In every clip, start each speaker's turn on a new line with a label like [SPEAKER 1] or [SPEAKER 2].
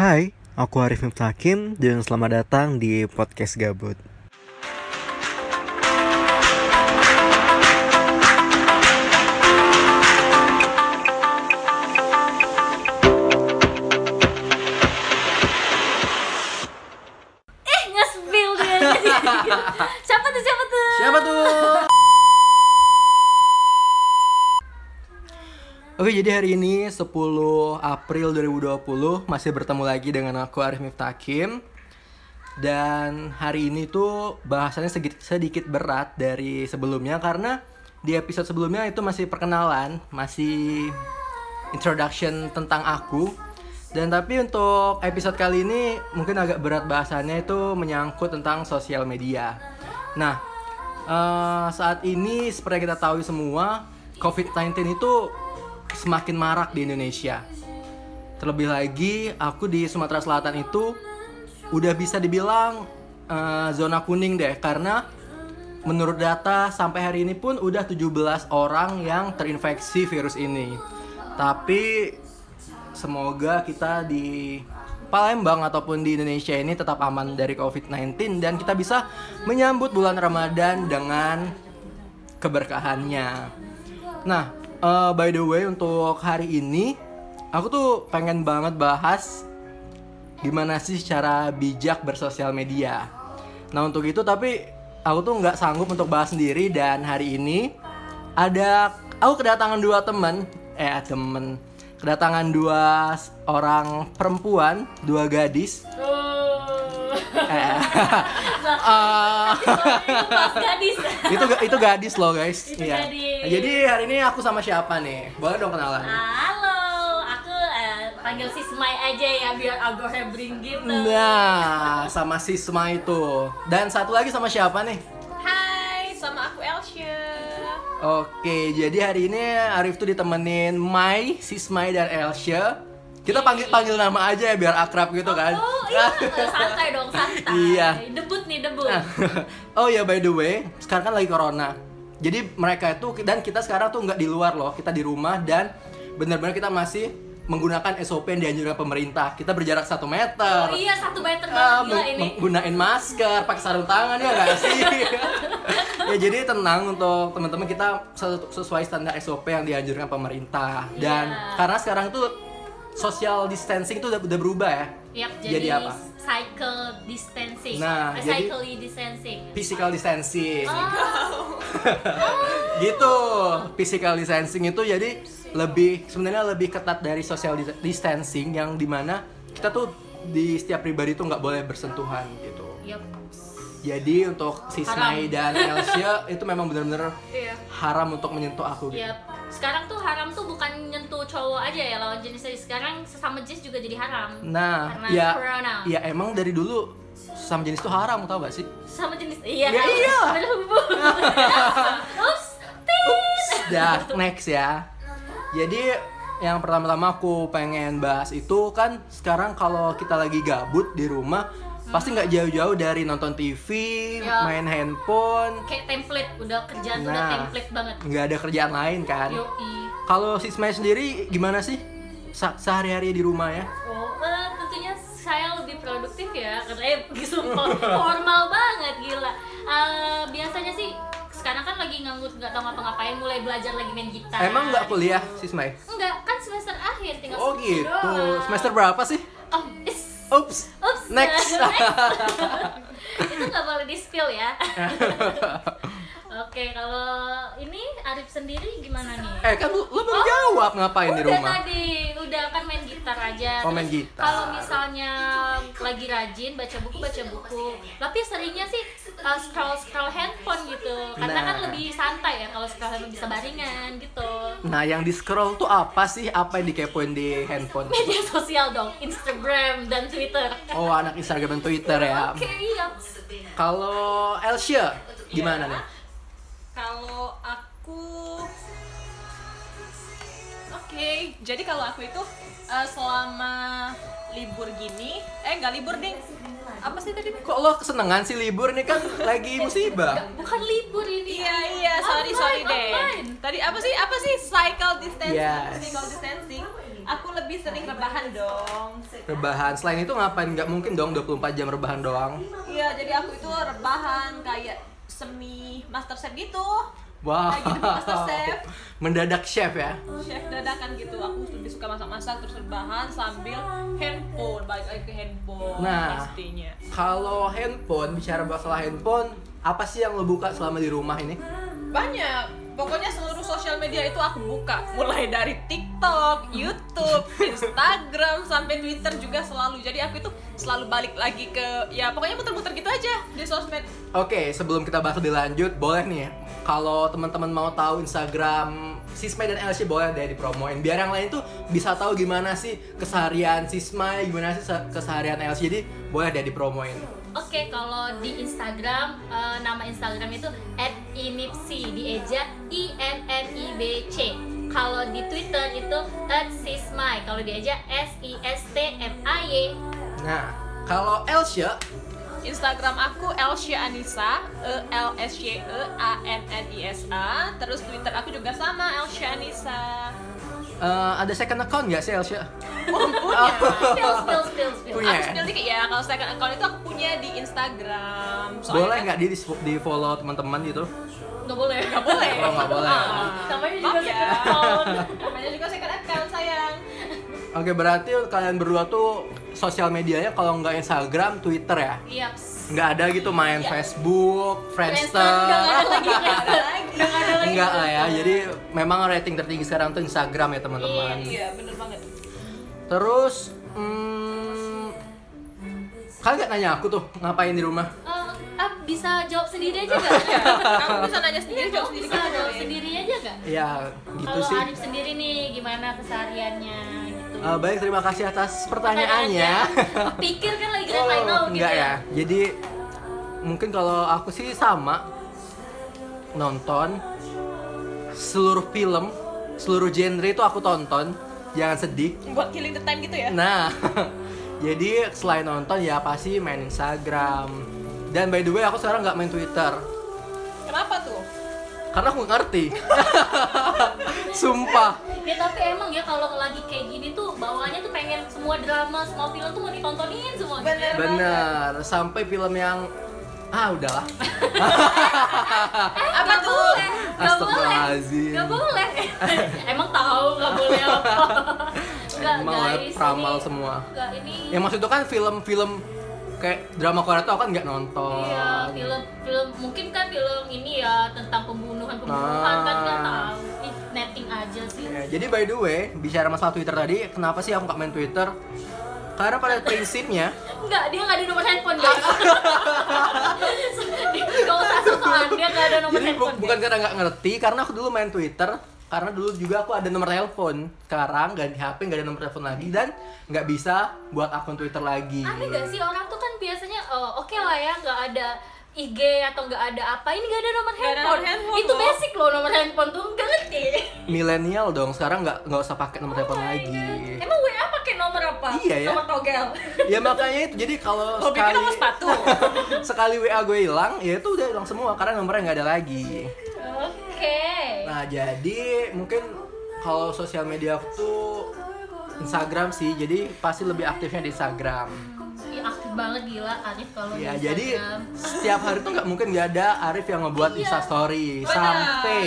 [SPEAKER 1] Hai, aku Arif Hakim dan selamat datang di Podcast Gabut.
[SPEAKER 2] eh nge-spill dia siapa tuh siapa tuh
[SPEAKER 3] Siapa tuh? Oke, jadi hari ini 10 April 2020 masih bertemu lagi dengan aku Arif Miftakim. Dan hari ini tuh bahasannya sedikit, sedikit berat dari sebelumnya karena di episode sebelumnya itu masih perkenalan, masih introduction tentang aku. Dan tapi untuk episode kali ini mungkin agak berat bahasannya itu menyangkut tentang sosial media. Nah, eh, saat ini seperti kita tahu semua, COVID-19 itu semakin marak di Indonesia. Terlebih lagi, aku di Sumatera Selatan itu udah bisa dibilang eh, zona kuning deh karena menurut data sampai hari ini pun udah 17 orang yang terinfeksi virus ini. Tapi semoga kita di Palembang ataupun di Indonesia ini tetap aman dari COVID-19 dan kita bisa menyambut bulan Ramadan dengan keberkahannya. Nah, eh, by the way untuk hari ini aku tuh pengen banget bahas gimana sih cara bijak bersosial media. Nah, untuk itu tapi aku tuh nggak sanggup untuk bahas sendiri dan hari ini ada aku kedatangan dua temen eh temen kedatangan dua s- orang perempuan dua gadis eh, eh,
[SPEAKER 2] itu pas gadis
[SPEAKER 3] itu ga- itu gadis loh guys
[SPEAKER 2] Itu
[SPEAKER 3] Iya.
[SPEAKER 2] gadis.
[SPEAKER 3] jadi hari ini aku sama siapa nih boleh dong kenalan
[SPEAKER 2] halo aku eh, panggil si Smai aja ya biar agak hebring gitu
[SPEAKER 3] nah sama si Sma itu dan satu lagi sama siapa nih
[SPEAKER 4] Hai, sama aku Elsya.
[SPEAKER 3] oke jadi hari ini Arif tuh ditemenin Mai si Smai dan Elsya kita panggil panggil nama aja ya biar akrab gitu kan
[SPEAKER 2] oh iya santai dong santai
[SPEAKER 3] Iya.
[SPEAKER 2] debut nih debut
[SPEAKER 3] oh ya by the way sekarang kan lagi corona jadi mereka itu dan kita sekarang tuh nggak di luar loh kita di rumah dan benar-benar kita masih menggunakan SOP yang dianjurkan pemerintah kita berjarak satu meter
[SPEAKER 2] oh iya satu meter banget gila
[SPEAKER 3] Ah, meng-
[SPEAKER 2] ini
[SPEAKER 3] meng- gunain masker, pakai sarung tangan ya nggak sih? ya jadi tenang untuk teman-teman kita sesu- sesuai standar SOP yang dianjurkan pemerintah dan
[SPEAKER 2] Iya.
[SPEAKER 3] karena sekarang tuh social distancing tuh udah, udah berubah ya.
[SPEAKER 2] Yap, jadi,
[SPEAKER 3] jadi apa?
[SPEAKER 2] cycle distancing
[SPEAKER 3] Nah,
[SPEAKER 2] Eh,
[SPEAKER 3] jadi-
[SPEAKER 2] cyclically distancing
[SPEAKER 3] Physical distancing.
[SPEAKER 2] Oh,
[SPEAKER 3] gitu physical distancing itu jadi lebih sebenarnya lebih ketat dari social dis- distancing yang dimana kita tuh di setiap pribadi tuh nggak boleh bersentuhan gitu
[SPEAKER 2] yap.
[SPEAKER 3] jadi untuk si
[SPEAKER 2] Haram.
[SPEAKER 3] Snai dan Elsia itu memang benar-benar
[SPEAKER 4] Iya.
[SPEAKER 3] haram untuk menyentuh aku gitu.
[SPEAKER 2] Yap. Iya. Sekarang tuh haram tuh bukan nyentuh cowok aja ya lawan jenis aja. Sekarang sesama jenis juga jadi haram.
[SPEAKER 3] Nah,
[SPEAKER 2] Karena
[SPEAKER 3] ya,
[SPEAKER 2] corona.
[SPEAKER 3] ya emang dari dulu sesama jenis tuh haram tau gak sih?
[SPEAKER 2] Sesama jenis. Iya.
[SPEAKER 3] Ya iyalah.
[SPEAKER 2] Berhubung. Ups. Tit.
[SPEAKER 3] Dah, next ya. Jadi yang pertama-tama aku pengen bahas itu kan sekarang kalau kita lagi gabut di rumah pasti nggak
[SPEAKER 2] Hmm.
[SPEAKER 3] jauh-jauh dari nonton TV,
[SPEAKER 2] Ya.
[SPEAKER 3] main handphone,
[SPEAKER 2] Kayak template udah kerjaan tuh udah
[SPEAKER 3] Nah.
[SPEAKER 2] template banget.
[SPEAKER 3] nggak ada kerjaan lain kan.
[SPEAKER 2] Yoi.
[SPEAKER 3] Kalau si Smai sendiri gimana sih Se- sehari-hari di rumah ya?
[SPEAKER 2] Oh, eh, tentunya saya lebih produktif ya karena eh, sumpah formal banget gila. Eh, biasanya sih sekarang kan lagi nganggur nggak tahu ngapa-ngapain mulai belajar lagi main gitar.
[SPEAKER 3] Emang nggak kuliah si Smai?
[SPEAKER 2] Enggak, kan semester akhir tinggal
[SPEAKER 3] Oh
[SPEAKER 2] semester
[SPEAKER 3] gitu.
[SPEAKER 2] doang.
[SPEAKER 3] Semester berapa sih?
[SPEAKER 2] Oh, is-
[SPEAKER 3] Oops.
[SPEAKER 2] Oops.
[SPEAKER 3] Next.
[SPEAKER 2] itu nggak boleh di spill ya. Oke, kalau ini Arif sendiri gimana nih?
[SPEAKER 3] eh kan lu, lu belum jawab ngapain di
[SPEAKER 2] udah
[SPEAKER 3] rumah?
[SPEAKER 2] tadi, udah kan main gitar aja.
[SPEAKER 3] Oh, main
[SPEAKER 2] Terus
[SPEAKER 3] gitar.
[SPEAKER 2] Kalau misalnya lagi rajin baca buku baca buku. Tapi seringnya sih uh, scroll scroll handphone gitu. Karena kan
[SPEAKER 3] Nah.
[SPEAKER 2] lebih santai ya kalau scroll handphone bisa baringan gitu.
[SPEAKER 3] Nah yang di scroll tuh apa sih? Apa yang dikepoin di handphone?
[SPEAKER 2] Media sosial dong, Instagram dan Twitter.
[SPEAKER 3] Oh anak Instagram dan Twitter ya.
[SPEAKER 2] Oke, iya.
[SPEAKER 3] Kalau Elsia gimana nih?
[SPEAKER 4] Kalau aku Oke, jadi kalau aku itu eh, selama libur gini, eh nggak libur ding. Apa sih tadi?
[SPEAKER 3] Kok lo kesenangan sih libur nih kan lagi musibah?
[SPEAKER 2] Bukan libur ini.
[SPEAKER 4] Iya iya, sorry sorry
[SPEAKER 2] Online,
[SPEAKER 4] deh.
[SPEAKER 2] online.
[SPEAKER 4] Tadi apa sih? Apa sih cycle distancing?
[SPEAKER 3] Yes.
[SPEAKER 4] Physical distancing. Aku lebih sering rebahan dong.
[SPEAKER 3] Rebahan. Selain itu ngapain? Nggak mungkin dong 24 jam rebahan doang.
[SPEAKER 4] Iya, jadi aku itu rebahan kayak semi master chef gitu.
[SPEAKER 3] Wow.
[SPEAKER 4] Kayak gitu master chef.
[SPEAKER 3] Mendadak chef ya.
[SPEAKER 4] Chef dadakan gitu. Aku lebih suka masak-masak terus rebahan sambil handphone, balik lagi ke handphone
[SPEAKER 3] Nah.
[SPEAKER 4] pastinya.
[SPEAKER 3] Kalau handphone, bicara masalah handphone, apa sih yang lo buka selama di rumah ini?
[SPEAKER 4] Banyak. Pokoknya seluruh sosial media itu aku buka, mulai dari TikTok, YouTube, Instagram sampai Twitter juga selalu. Jadi aku itu selalu balik lagi ke ya pokoknya muter-muter gitu aja di sosmed.
[SPEAKER 3] Oke, sebelum kita bahas lebih lanjut, boleh nih ya. kalau teman-teman mau tahu Instagram Sismay dan LC boleh deh dipromoin biar yang lain tuh bisa tahu gimana sih keseharian Sismay, gimana sih se- keseharian LC. Jadi boleh deh dipromoin.
[SPEAKER 2] Oke, kalau di Instagram eh, nama Instagram itu @inipsi dieja i n n i b c. Kalau di Twitter itu @sismay. Kalau dieja s i s t m a y.
[SPEAKER 3] Nah, kalau Elsie
[SPEAKER 4] Instagram aku Elsya Anissa, E L S Y E A N N I S A. Terus Twitter aku juga sama Elsya E Anissa.
[SPEAKER 3] eh, ada second account nggak sih Elsie?
[SPEAKER 4] Oh, punya.
[SPEAKER 2] Spill spill spill spill.
[SPEAKER 3] Punya.
[SPEAKER 4] Aku sendiri dikit ya, kalau second account itu aku punya di Instagram.
[SPEAKER 3] Boleh
[SPEAKER 4] kan-
[SPEAKER 3] nggak di di follow teman-teman gitu?
[SPEAKER 2] Nggak boleh.
[SPEAKER 4] Nggak boleh.
[SPEAKER 3] Oh, nggak boleh.
[SPEAKER 4] Ah.
[SPEAKER 2] Namanya juga gitu.
[SPEAKER 4] Maaf ya.
[SPEAKER 2] second account.
[SPEAKER 4] Namanya juga second account sayang.
[SPEAKER 3] Oke, berarti kalian berdua tuh sosial medianya kalau nggak Instagram, Twitter ya?
[SPEAKER 2] Yaps.
[SPEAKER 3] Nggak ada gitu main
[SPEAKER 4] Iya.
[SPEAKER 3] Facebook,
[SPEAKER 2] Friendster, udah nggak
[SPEAKER 3] Friendster,
[SPEAKER 2] ada lagi.
[SPEAKER 4] Nggak ada lagi.
[SPEAKER 3] Enggak lah ya, jadi memang rating tertinggi sekarang tuh Instagram ya teman-teman.
[SPEAKER 4] Iya, bener banget.
[SPEAKER 3] Terus, hmm, kalian nggak nanya aku tuh ngapain di rumah?
[SPEAKER 2] Eh, ah, bisa jawab sendiri aja nggak?
[SPEAKER 4] Kamu Iya bisa nanya sendiri,
[SPEAKER 2] Jawab
[SPEAKER 4] jawab sendiri.
[SPEAKER 2] bisa jawab
[SPEAKER 4] boleh.
[SPEAKER 2] sendiri aja nggak?
[SPEAKER 3] Ya gitu
[SPEAKER 2] Kalau
[SPEAKER 3] sih.
[SPEAKER 2] Arif sendiri nih gimana kesehariannya gitu?
[SPEAKER 3] Eh, baik, terima kasih atas pertanyaannya.
[SPEAKER 2] Pikir kan lagi grand
[SPEAKER 3] Oh,
[SPEAKER 2] final gitu
[SPEAKER 3] enggak ya. Jadi mungkin kalau aku sih sama nonton seluruh film, seluruh genre itu aku tonton. Jangan sedih.
[SPEAKER 4] Buat killing the time gitu ya.
[SPEAKER 3] Nah, jadi selain nonton ya pasti main Instagram. Dan by the way aku sekarang nggak main Twitter
[SPEAKER 4] Kenapa tuh?
[SPEAKER 3] karena aku ngerti. Sumpah.
[SPEAKER 2] Ya tapi emang ya kalau lagi kayak gini tuh bawaannya tuh pengen semua drama, semua film tuh mau ditontonin semua. gitu ya.
[SPEAKER 3] Bener. Sampai film yang ah udahlah.
[SPEAKER 2] Eh,
[SPEAKER 4] Apa
[SPEAKER 2] nggak
[SPEAKER 4] tuh?
[SPEAKER 2] Boleh. Gak boleh.
[SPEAKER 3] Astagfirullahaladzim.
[SPEAKER 2] Gak boleh. emang tahu gak boleh apa. Enggak
[SPEAKER 3] Emang
[SPEAKER 2] guys.
[SPEAKER 3] web ramal
[SPEAKER 2] ini-
[SPEAKER 3] ya, semua.
[SPEAKER 2] Enggak ini.
[SPEAKER 3] Ya maksud itu kan film-film kayak drama Korea tuh aku kan nggak nonton.
[SPEAKER 2] Iya, film film mungkin kan film ini ya tentang pembunuhan pembunuhan kan nggak
[SPEAKER 3] Ah.
[SPEAKER 2] tahu. Ih, netting aja sih.
[SPEAKER 3] Ya, jadi by the way, bicara masalah Twitter tadi, kenapa sih aku nggak main Twitter? Karena pada prinsipnya,
[SPEAKER 2] Enggak, dia nggak ada nomor handphone guys. Gak usah sosokan, dia nggak ada nomor
[SPEAKER 3] jadi bu-
[SPEAKER 2] handphone. ya?
[SPEAKER 3] bukan karena nggak ngerti, karena aku dulu main Twitter, karena dulu juga aku ada nomor telepon. Sekarang ganti HP nggak ada nomor telepon lagi dan nggak bisa buat akun Twitter lagi.
[SPEAKER 2] aneh gak sih orang tuh kan biasanya oh, oke lah ya nggak ada IG atau nggak ada apa ini nggak ada nomor
[SPEAKER 4] Nggak ada
[SPEAKER 2] handphone.
[SPEAKER 4] nomor handphone
[SPEAKER 2] itu
[SPEAKER 4] loh.
[SPEAKER 2] basic loh nomor handphone tuh nggak ngerti
[SPEAKER 3] Milenial dong, sekarang nggak nggak usah pakai nomor telepon lagi.
[SPEAKER 2] Oh emang WA pakai nomor apa
[SPEAKER 3] Iya ya.
[SPEAKER 2] nomor togel
[SPEAKER 3] Ya makanya itu jadi kalau
[SPEAKER 4] Lo pikir
[SPEAKER 3] sekali
[SPEAKER 4] sama sepatu?
[SPEAKER 3] sekali WA gue hilang, ya itu udah hilang semua karena nomornya nggak ada lagi.
[SPEAKER 2] oke
[SPEAKER 3] Nah jadi mungkin kalau sosial media aku tuh Instagram sih, jadi pasti lebih aktifnya di Instagram.
[SPEAKER 2] Ih, aktif banget gila Arif kalau
[SPEAKER 3] Ya
[SPEAKER 2] di
[SPEAKER 3] jadi
[SPEAKER 2] Instagram.
[SPEAKER 3] setiap hari tuh nggak mungkin nggak ada Arif yang ngebuat instastory
[SPEAKER 4] Benar.
[SPEAKER 3] sampai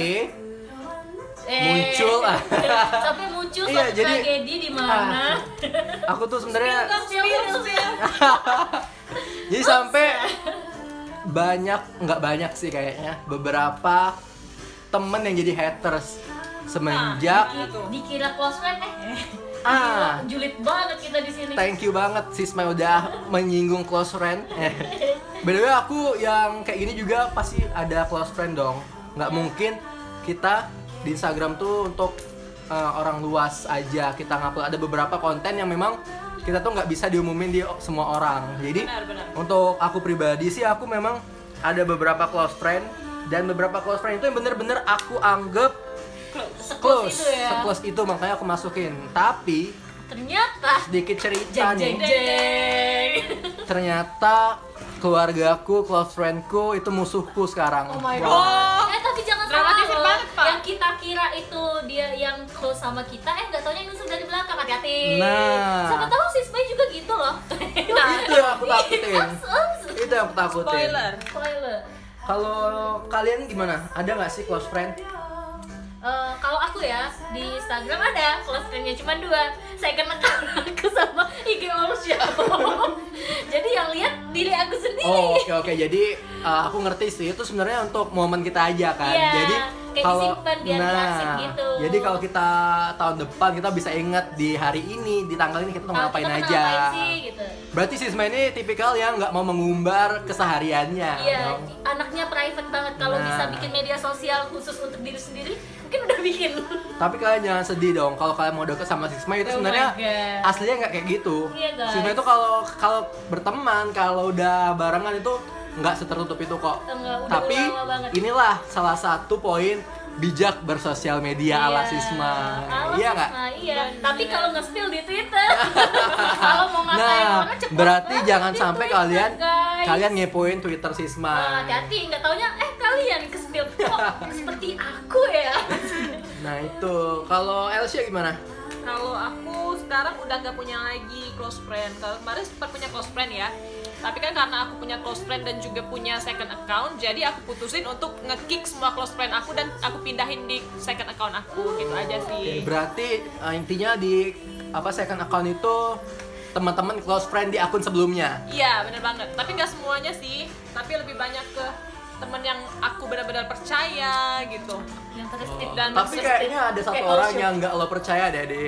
[SPEAKER 2] Eh,
[SPEAKER 3] muncul.
[SPEAKER 2] sampai muncul
[SPEAKER 3] Iya,
[SPEAKER 2] suatu
[SPEAKER 3] jadi- Ah.
[SPEAKER 2] tragedi di mana
[SPEAKER 3] aku tuh sebenarnya
[SPEAKER 4] Spill, spill.
[SPEAKER 3] jadi sampai banyak nggak banyak sih kayaknya beberapa temen yang jadi haters
[SPEAKER 2] iya.
[SPEAKER 3] semenjak
[SPEAKER 4] Gitu.
[SPEAKER 2] dikira close friend eh
[SPEAKER 3] ah
[SPEAKER 2] julid banget kita di sini
[SPEAKER 3] Thank you banget Sisma udah menyinggung close friend. Eh, By the way aku yang kayak gini juga pasti ada close friend dong. Nggak mungkin kita di Instagram tuh untuk eh, orang luas aja kita ngupload ada beberapa konten yang memang kita tuh nggak bisa diumumin di semua orang. Jadi
[SPEAKER 4] Benar, benar.
[SPEAKER 3] untuk aku pribadi sih aku memang ada beberapa close friend dan beberapa close friend itu yang bener-bener aku anggap
[SPEAKER 2] Seclose
[SPEAKER 3] close,
[SPEAKER 2] itu ya.
[SPEAKER 3] seclose itu makanya aku masukin. Tapi
[SPEAKER 2] ternyata
[SPEAKER 3] sedikit cerita
[SPEAKER 2] jeng jeng
[SPEAKER 3] nih
[SPEAKER 2] jeng
[SPEAKER 3] ternyata keluargaku, close friendku itu musuhku sekarang.
[SPEAKER 2] Oh my
[SPEAKER 3] Wow.
[SPEAKER 2] god. Eh tapi jangan
[SPEAKER 4] Dramatisir
[SPEAKER 2] loh.
[SPEAKER 4] Oh. banget, Pak.
[SPEAKER 2] Yang kita kira itu dia yang close sama kita, eh nggak taunya nusuk dari belakang hati-hati.
[SPEAKER 3] Nah.
[SPEAKER 2] Siapa tahu si Spy juga gitu loh. nah,
[SPEAKER 3] itu yang aku takutin
[SPEAKER 2] Ups, ups.
[SPEAKER 3] itu yang aku takutin
[SPEAKER 4] Spoiler.
[SPEAKER 2] Spoiler.
[SPEAKER 3] kalau kalian gimana ada nggak sih close friend
[SPEAKER 2] Eh, kalau aku ya di Instagram ada close friendnya cuma dua saya kena aku sama IG All Show jadi yang lihat diri aku sendiri
[SPEAKER 3] Oh, oke oke. Jadi uh, aku ngerti sih itu sebenarnya untuk momen kita aja kan.
[SPEAKER 2] Iya,
[SPEAKER 3] jadi nah.
[SPEAKER 2] kayak disimpan biar klasik gitu.
[SPEAKER 3] Jadi kalau kita tahun depan kita bisa ingat di hari ini, di tanggal ini kita mau
[SPEAKER 2] Kalau
[SPEAKER 3] ngapain
[SPEAKER 2] Ah, kita pernah
[SPEAKER 3] aja.
[SPEAKER 2] ngapain sih gitu
[SPEAKER 3] Berarti Sisma ini tipikal yang nggak mau mengumbar kesehariannya.
[SPEAKER 2] iya
[SPEAKER 3] Nggak-
[SPEAKER 2] anaknya private banget kalau
[SPEAKER 3] Nah.
[SPEAKER 2] bisa bikin media sosial khusus untuk diri sendiri mungkin udah bikin
[SPEAKER 3] Tapi kalian jangan sedih dong kalau kalian mau deket sama Sisma itu
[SPEAKER 2] Oh
[SPEAKER 3] sebenarnya
[SPEAKER 2] my God.
[SPEAKER 3] aslinya nggak kayak gitu.
[SPEAKER 2] Iya, guys.
[SPEAKER 3] Sisma itu kalau kalau berteman, kalau udah barengan itu nggak setertutup itu kok.
[SPEAKER 2] Enggak, udah
[SPEAKER 3] Tapi
[SPEAKER 2] lama banget.
[SPEAKER 3] inilah salah satu poin bijak bersosial media Ya, ala Sisma.
[SPEAKER 2] Iya. Ala
[SPEAKER 3] iya
[SPEAKER 2] Sisma,
[SPEAKER 3] nggak?
[SPEAKER 2] iya tapi kalau nge-spill di Twitter kalau mau ngatain
[SPEAKER 3] Nah,
[SPEAKER 2] orang cepet
[SPEAKER 3] berarti
[SPEAKER 2] banget
[SPEAKER 3] jangan
[SPEAKER 2] di
[SPEAKER 3] sampai
[SPEAKER 2] Twitter,
[SPEAKER 3] kalian
[SPEAKER 2] guys.
[SPEAKER 3] kalian ngepoin Twitter Sisma.
[SPEAKER 2] Nah, hati-hati, nggak taunya, eh kalian kesepil kok seperti aku ya
[SPEAKER 3] Nah, itu. Kalau Elsia gimana?
[SPEAKER 4] Kalau aku sekarang udah nggak punya lagi close friend. Kalau kemarin sempat punya close friend ya. Tapi kan karena aku punya close friend dan juga punya second account, jadi aku putusin untuk nge-kick semua close friend aku dan aku pindahin di second account aku gitu aja
[SPEAKER 3] Oke,
[SPEAKER 4] sih.
[SPEAKER 3] berarti uh, intinya di apa second account itu teman-teman close friend di akun sebelumnya.
[SPEAKER 4] Iya, bener banget. Tapi nggak semuanya sih. Tapi lebih banyak ke temen yang aku benar-benar percaya gitu.
[SPEAKER 2] Yang terus
[SPEAKER 3] Iya. Oh,
[SPEAKER 4] Dan
[SPEAKER 3] Tapi
[SPEAKER 4] maksud-
[SPEAKER 3] kayaknya ada satu
[SPEAKER 4] oh,
[SPEAKER 2] Kayak
[SPEAKER 3] orang
[SPEAKER 2] Elsia.
[SPEAKER 3] yang nggak lo percaya deh di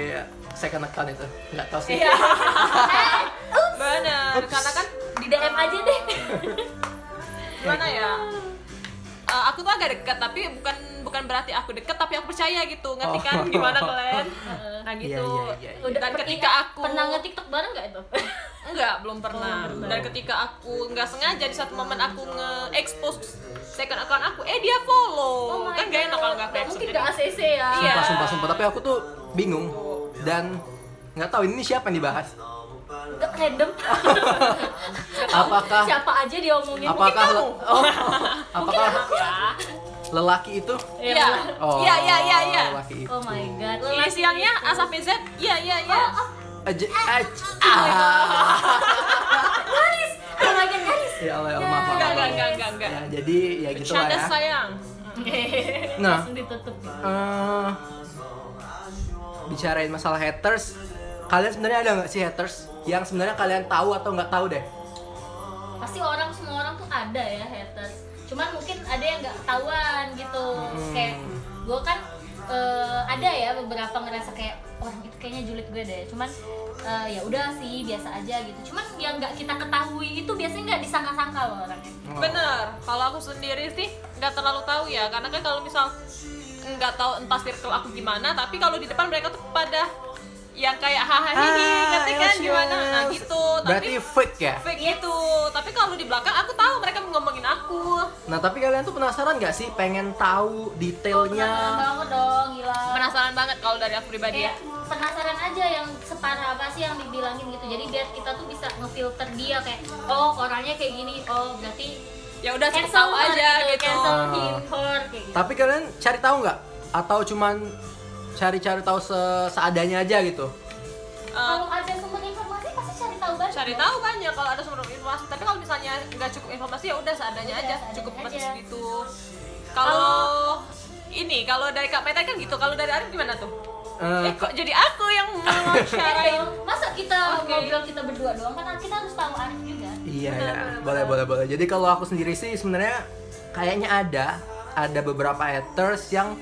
[SPEAKER 3] second account itu. Nggak tahu sih.
[SPEAKER 4] Iya. Bener. Karena kan
[SPEAKER 2] Eh, di DM aja deh
[SPEAKER 3] Iya,
[SPEAKER 4] gimana ya Eh, aku tuh agak deket tapi bukan bukan berarti aku deket tapi aku percaya gitu ngerti
[SPEAKER 3] Oh.
[SPEAKER 4] kan gimana kalian nah gitu
[SPEAKER 3] Iya, iya, iya,
[SPEAKER 2] pernah-
[SPEAKER 4] dan ketika aku
[SPEAKER 2] Pernah Oh, nge-tiktok bareng nggak itu?
[SPEAKER 4] enggak belum pernah dan ketika aku nggak sengaja di satu momen aku nge-expose second account aku eh dia
[SPEAKER 2] Oh
[SPEAKER 4] follow
[SPEAKER 2] my
[SPEAKER 4] kan gak enak
[SPEAKER 2] God.
[SPEAKER 4] kalau nggak aku expose
[SPEAKER 2] Mungkin
[SPEAKER 4] jadi-
[SPEAKER 2] nggak ACC ya
[SPEAKER 4] Iya.
[SPEAKER 3] Sumpah, sumpah, sumpah. Tapi aku tuh bingung dan nggak tahu ini siapa yang dibahas.
[SPEAKER 2] Nggak random
[SPEAKER 3] Apakah
[SPEAKER 2] Siapa aja diomongin
[SPEAKER 3] apakah
[SPEAKER 2] Mungkin
[SPEAKER 3] le- oh, apakah
[SPEAKER 2] ya.
[SPEAKER 3] lelaki itu?
[SPEAKER 2] kamu
[SPEAKER 4] Iya.
[SPEAKER 3] Oh,
[SPEAKER 4] Iya, iya, iya, iya.
[SPEAKER 3] Lelaki itu.
[SPEAKER 2] Oh my god
[SPEAKER 4] inisialnya
[SPEAKER 2] gitu.
[SPEAKER 4] asap Z iya iya iya
[SPEAKER 2] Oh,
[SPEAKER 3] Aj- aj- eh, ah.
[SPEAKER 2] Garis Oh my god, garis
[SPEAKER 3] Ya Allah, ya Allah, maaf. maaf,
[SPEAKER 4] enggak
[SPEAKER 3] maaf.
[SPEAKER 4] enggak enggak enggak enggak
[SPEAKER 3] Ya, jadi ya gitu lah
[SPEAKER 4] Bercanda,
[SPEAKER 3] ya.
[SPEAKER 4] sayang
[SPEAKER 3] Nah.
[SPEAKER 2] Langsung ditutup
[SPEAKER 3] Eh, bicarain masalah haters, kalian sebenarnya ada nggak sih haters yang sebenarnya kalian tahu atau nggak tahu deh?
[SPEAKER 2] pasti orang semua orang tuh ada ya haters cuman mungkin ada yang nggak ketahuan gitu kayak gue kan eh, ada ya beberapa ngerasa kayak orang itu kayaknya julid gue deh cuman eh, ya udah sih biasa aja gitu cuman yang nggak kita ketahui itu biasanya nggak disangka-sangka loh orangnya
[SPEAKER 4] Bener, kalau aku sendiri sih nggak terlalu tahu ya, karena kan kalau misal nggak tahu entah circle aku gimana, tapi kalau di depan mereka tuh pada yang kayak hahaha
[SPEAKER 3] Ah,
[SPEAKER 4] ngerti kan gimana, nah gitu,
[SPEAKER 3] Berarti
[SPEAKER 4] tapi
[SPEAKER 3] fake ya?
[SPEAKER 4] fake gitu, tapi kalau di belakang aku tahu mereka mau ngomongin aku,
[SPEAKER 3] Nah tapi kalian tuh penasaran nggak sih? Pengen tahu
[SPEAKER 4] Oh,
[SPEAKER 2] penasaran
[SPEAKER 3] detailnya?
[SPEAKER 2] banget dong gila
[SPEAKER 4] penasaran banget kalau dari aku pribadi ya.
[SPEAKER 2] kayak penasaran aja yang separah apa sih yang dibilangin gitu jadi biar kita tuh bisa ngefilter dia kayak oh orangnya kayak gini oh berarti
[SPEAKER 4] Ya udah cukup
[SPEAKER 2] cancel
[SPEAKER 4] tahu
[SPEAKER 2] her
[SPEAKER 4] aja gitu.
[SPEAKER 2] cancel
[SPEAKER 3] Ah.
[SPEAKER 2] him her kayak gitu
[SPEAKER 3] Tapi kalian cari tahu nggak? Atau cuman cari-cari tahu se- seadanya aja gitu?
[SPEAKER 4] Eh,
[SPEAKER 2] kalau ada sumber informasi pasti cari tahu banget
[SPEAKER 4] cari tahu banyak kalau ada sumber informasi tapi kalau misalnya nggak cukup informasi ya udah seadanya aja
[SPEAKER 2] seadanya
[SPEAKER 4] cukup
[SPEAKER 2] aja.
[SPEAKER 4] persis gitu kalau ini kalau dari Kak Meta kan gitu kalau dari Arif gimana tuh
[SPEAKER 3] Eh,
[SPEAKER 4] eh kok jadi aku yang mengawasarain
[SPEAKER 2] Ayo, masa kita
[SPEAKER 4] Oke.
[SPEAKER 2] ngobrol kita berdua doang kan kita harus tahu Arif juga
[SPEAKER 3] Iya ya, boleh boleh boleh. Jadi kalau aku sendiri sih sebenarnya kayaknya ada ada beberapa haters yang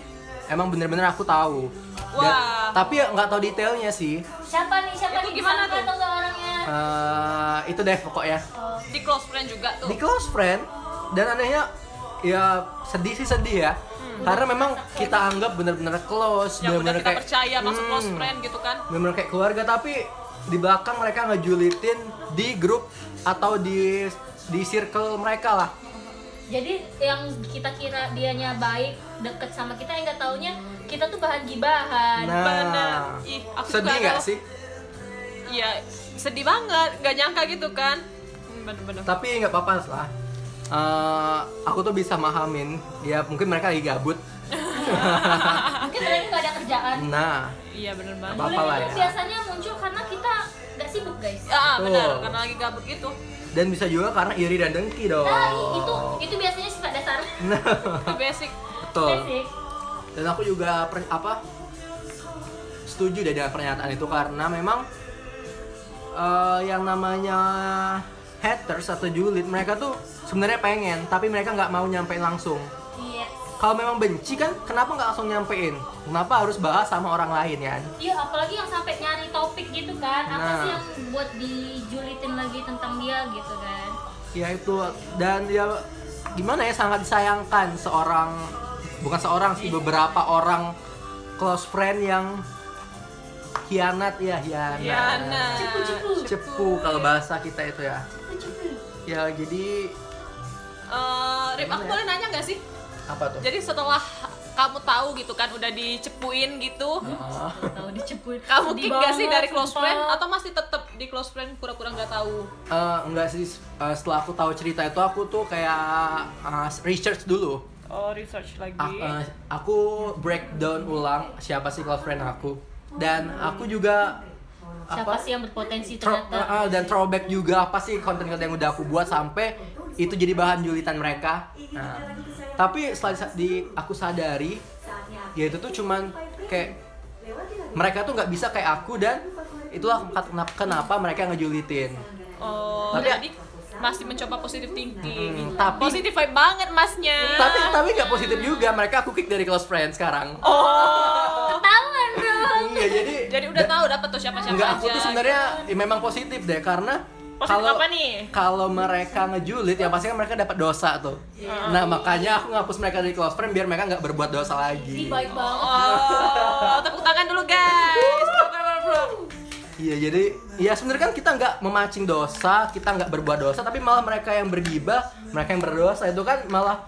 [SPEAKER 3] emang bener-bener aku tahu.
[SPEAKER 4] Wah.
[SPEAKER 3] Tapi ya nggak tahu detailnya sih.
[SPEAKER 2] siapa nih siapa
[SPEAKER 4] Itu
[SPEAKER 2] nih
[SPEAKER 4] gimana
[SPEAKER 2] Siapa
[SPEAKER 4] tuh?
[SPEAKER 2] atau nggak orangnya
[SPEAKER 3] Eh, itu deh pokoknya.
[SPEAKER 2] Oh,
[SPEAKER 4] di close friend juga tuh
[SPEAKER 3] Di close friend dan anehnya ya sedih sih sedih ya. Karena memang kita anggap bener-bener close,
[SPEAKER 4] yang
[SPEAKER 3] bener-bener
[SPEAKER 4] udah Hmm. Ya, kita
[SPEAKER 3] kayak
[SPEAKER 4] percaya masuk close
[SPEAKER 3] Hmm.
[SPEAKER 4] friend gitu kan
[SPEAKER 3] bener kayak keluarga tapi di belakang mereka ngejulitin di grup atau di di circle mereka lah.
[SPEAKER 2] jadi yang kita kira dianya baik deket sama kita yang nggak taunya kita tuh bahan gibahan
[SPEAKER 3] Nah,
[SPEAKER 4] Bener. Ih, aku suka
[SPEAKER 3] sedih nggak
[SPEAKER 4] kalau-
[SPEAKER 3] sih?
[SPEAKER 4] iya sedih banget nggak nyangka gitu kan Hmm, bener-bener
[SPEAKER 3] Tapi nggak apa-apa lah. eh, aku tuh bisa mahamin ya mungkin mereka lagi gabut
[SPEAKER 2] mungkin mereka nggak ada kerjaan
[SPEAKER 3] nah
[SPEAKER 4] Iya bener banget.
[SPEAKER 3] Apa-apa lah
[SPEAKER 2] Boleh itu
[SPEAKER 3] ya.
[SPEAKER 2] biasanya muncul karena kita nggak sibuk guys
[SPEAKER 4] Ah benar,
[SPEAKER 3] Tuh.
[SPEAKER 4] karena lagi gabut gitu.
[SPEAKER 3] dan bisa juga karena iri dan dengki dong
[SPEAKER 2] nah i- itu itu biasanya sifat dasar Iya
[SPEAKER 4] Itu basic. Iya
[SPEAKER 3] betul
[SPEAKER 2] basic
[SPEAKER 3] dan aku juga per- apa setuju deh dengan pernyataan itu karena memang eh, yang namanya haters atau julid mereka tuh sebenarnya pengen tapi mereka nggak mau nyampein langsung
[SPEAKER 2] iya
[SPEAKER 3] kalau memang benci kan kenapa nggak langsung nyampein kenapa harus bahas sama orang lain ya
[SPEAKER 2] Iya, apalagi yang sampai nyari topik gitu kan. Apa
[SPEAKER 3] Nah.
[SPEAKER 2] sih yang buat dijulitin lagi tentang dia gitu kan?
[SPEAKER 3] ya itu dan ya gimana ya sangat disayangkan seorang bukan seorang sih beberapa orang close friend yang hianat ya hianat
[SPEAKER 4] Yana.
[SPEAKER 2] Cepu-cepu.
[SPEAKER 3] cepu kalau bahasa kita itu ya ya jadi
[SPEAKER 4] Eh, Rip, aku boleh nanya nggak sih?
[SPEAKER 3] apa tuh
[SPEAKER 4] Jadi setelah kamu tahu gitu kan udah dicepuin gitu,
[SPEAKER 3] Ah,
[SPEAKER 2] Tahu dicepuin.
[SPEAKER 4] kamu
[SPEAKER 2] Sedih
[SPEAKER 4] kick nggak sih
[SPEAKER 2] banget,
[SPEAKER 4] dari close
[SPEAKER 2] sumpah.
[SPEAKER 4] friend atau masih tetap di close friend pura-pura nggak tahu?
[SPEAKER 3] eh, enggak sih eh, setelah aku tahu cerita itu aku tuh kayak eh, research dulu
[SPEAKER 4] Oh research lagi.
[SPEAKER 3] Ah, eh, aku breakdown ulang siapa sih close friend aku dan aku juga
[SPEAKER 2] Siapa
[SPEAKER 3] apa,
[SPEAKER 2] sih yang berpotensi
[SPEAKER 3] Throw-
[SPEAKER 2] ternyata?
[SPEAKER 3] uh, uh, dan throwback juga apa sih konten-konten yang udah aku buat sampai itu jadi bahan julitan mereka. Nah, tapi setelah disa- di aku sadari ya itu tuh cuman kayak mereka tuh nggak bisa kayak aku dan itulah kenapa, kenapa mereka ngejulitin.
[SPEAKER 4] Oh,
[SPEAKER 3] Tapi-
[SPEAKER 4] jadi masih mencoba positive thinking.
[SPEAKER 3] Hmm,
[SPEAKER 4] Nah,
[SPEAKER 3] tapi-
[SPEAKER 4] positive vibe banget masnya.
[SPEAKER 3] Tapi tapi nggak positif juga mereka aku kick dari close friend sekarang.
[SPEAKER 4] Oh.
[SPEAKER 2] Ketahuan dong.
[SPEAKER 3] Iya jadi
[SPEAKER 4] Jadi udah tahu dapat tuh siapa-siapa
[SPEAKER 3] nggak
[SPEAKER 4] aja. gitu.
[SPEAKER 3] aku tuh sebenarnya ya memang positif deh karena
[SPEAKER 4] Positif apa nih?
[SPEAKER 3] kalau mereka ngejulit ya pasti kan mereka dapat dosa tuh.
[SPEAKER 4] Iya.
[SPEAKER 3] Nah makanya aku ngapus mereka dari close friend biar mereka nggak berbuat dosa
[SPEAKER 2] Ini
[SPEAKER 4] Iya,
[SPEAKER 3] lagi.
[SPEAKER 2] baik banget.
[SPEAKER 4] Oh, tepuk tangan dulu guys. Bro, bro, bro, bro.
[SPEAKER 3] Iya jadi ya sebenarnya kan kita nggak memancing dosa, kita nggak berbuat dosa, tapi malah mereka yang bergibah, mereka yang berdosa itu kan malah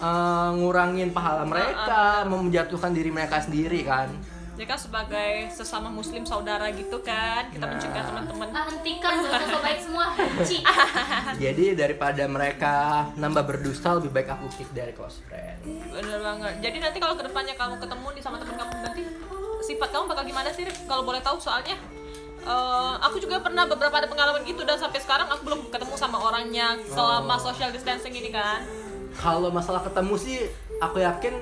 [SPEAKER 3] eh, ngurangin pahala mereka,
[SPEAKER 4] Ah,
[SPEAKER 3] menjatuhkan diri mereka sendiri kan.
[SPEAKER 4] Ya kan sebagai sesama muslim saudara gitu kan, kita mencegah teman-teman.
[SPEAKER 2] Ah, hentikan dosa sobat semua. Benci.
[SPEAKER 4] Ah,
[SPEAKER 3] Jadi daripada mereka nambah berdosa lebih baik aku kick dari close friend.
[SPEAKER 4] Bener banget. Jadi nanti kalau kedepannya kamu ketemu nih sama teman kamu nanti sifat kamu bakal gimana sih? Rif? Kalau boleh tahu soalnya eh, aku juga pernah beberapa ada pengalaman gitu dan sampai sekarang aku belum ketemu sama orangnya selama
[SPEAKER 3] Oh.
[SPEAKER 4] social distancing ini kan.
[SPEAKER 3] Kalau masalah ketemu sih aku yakin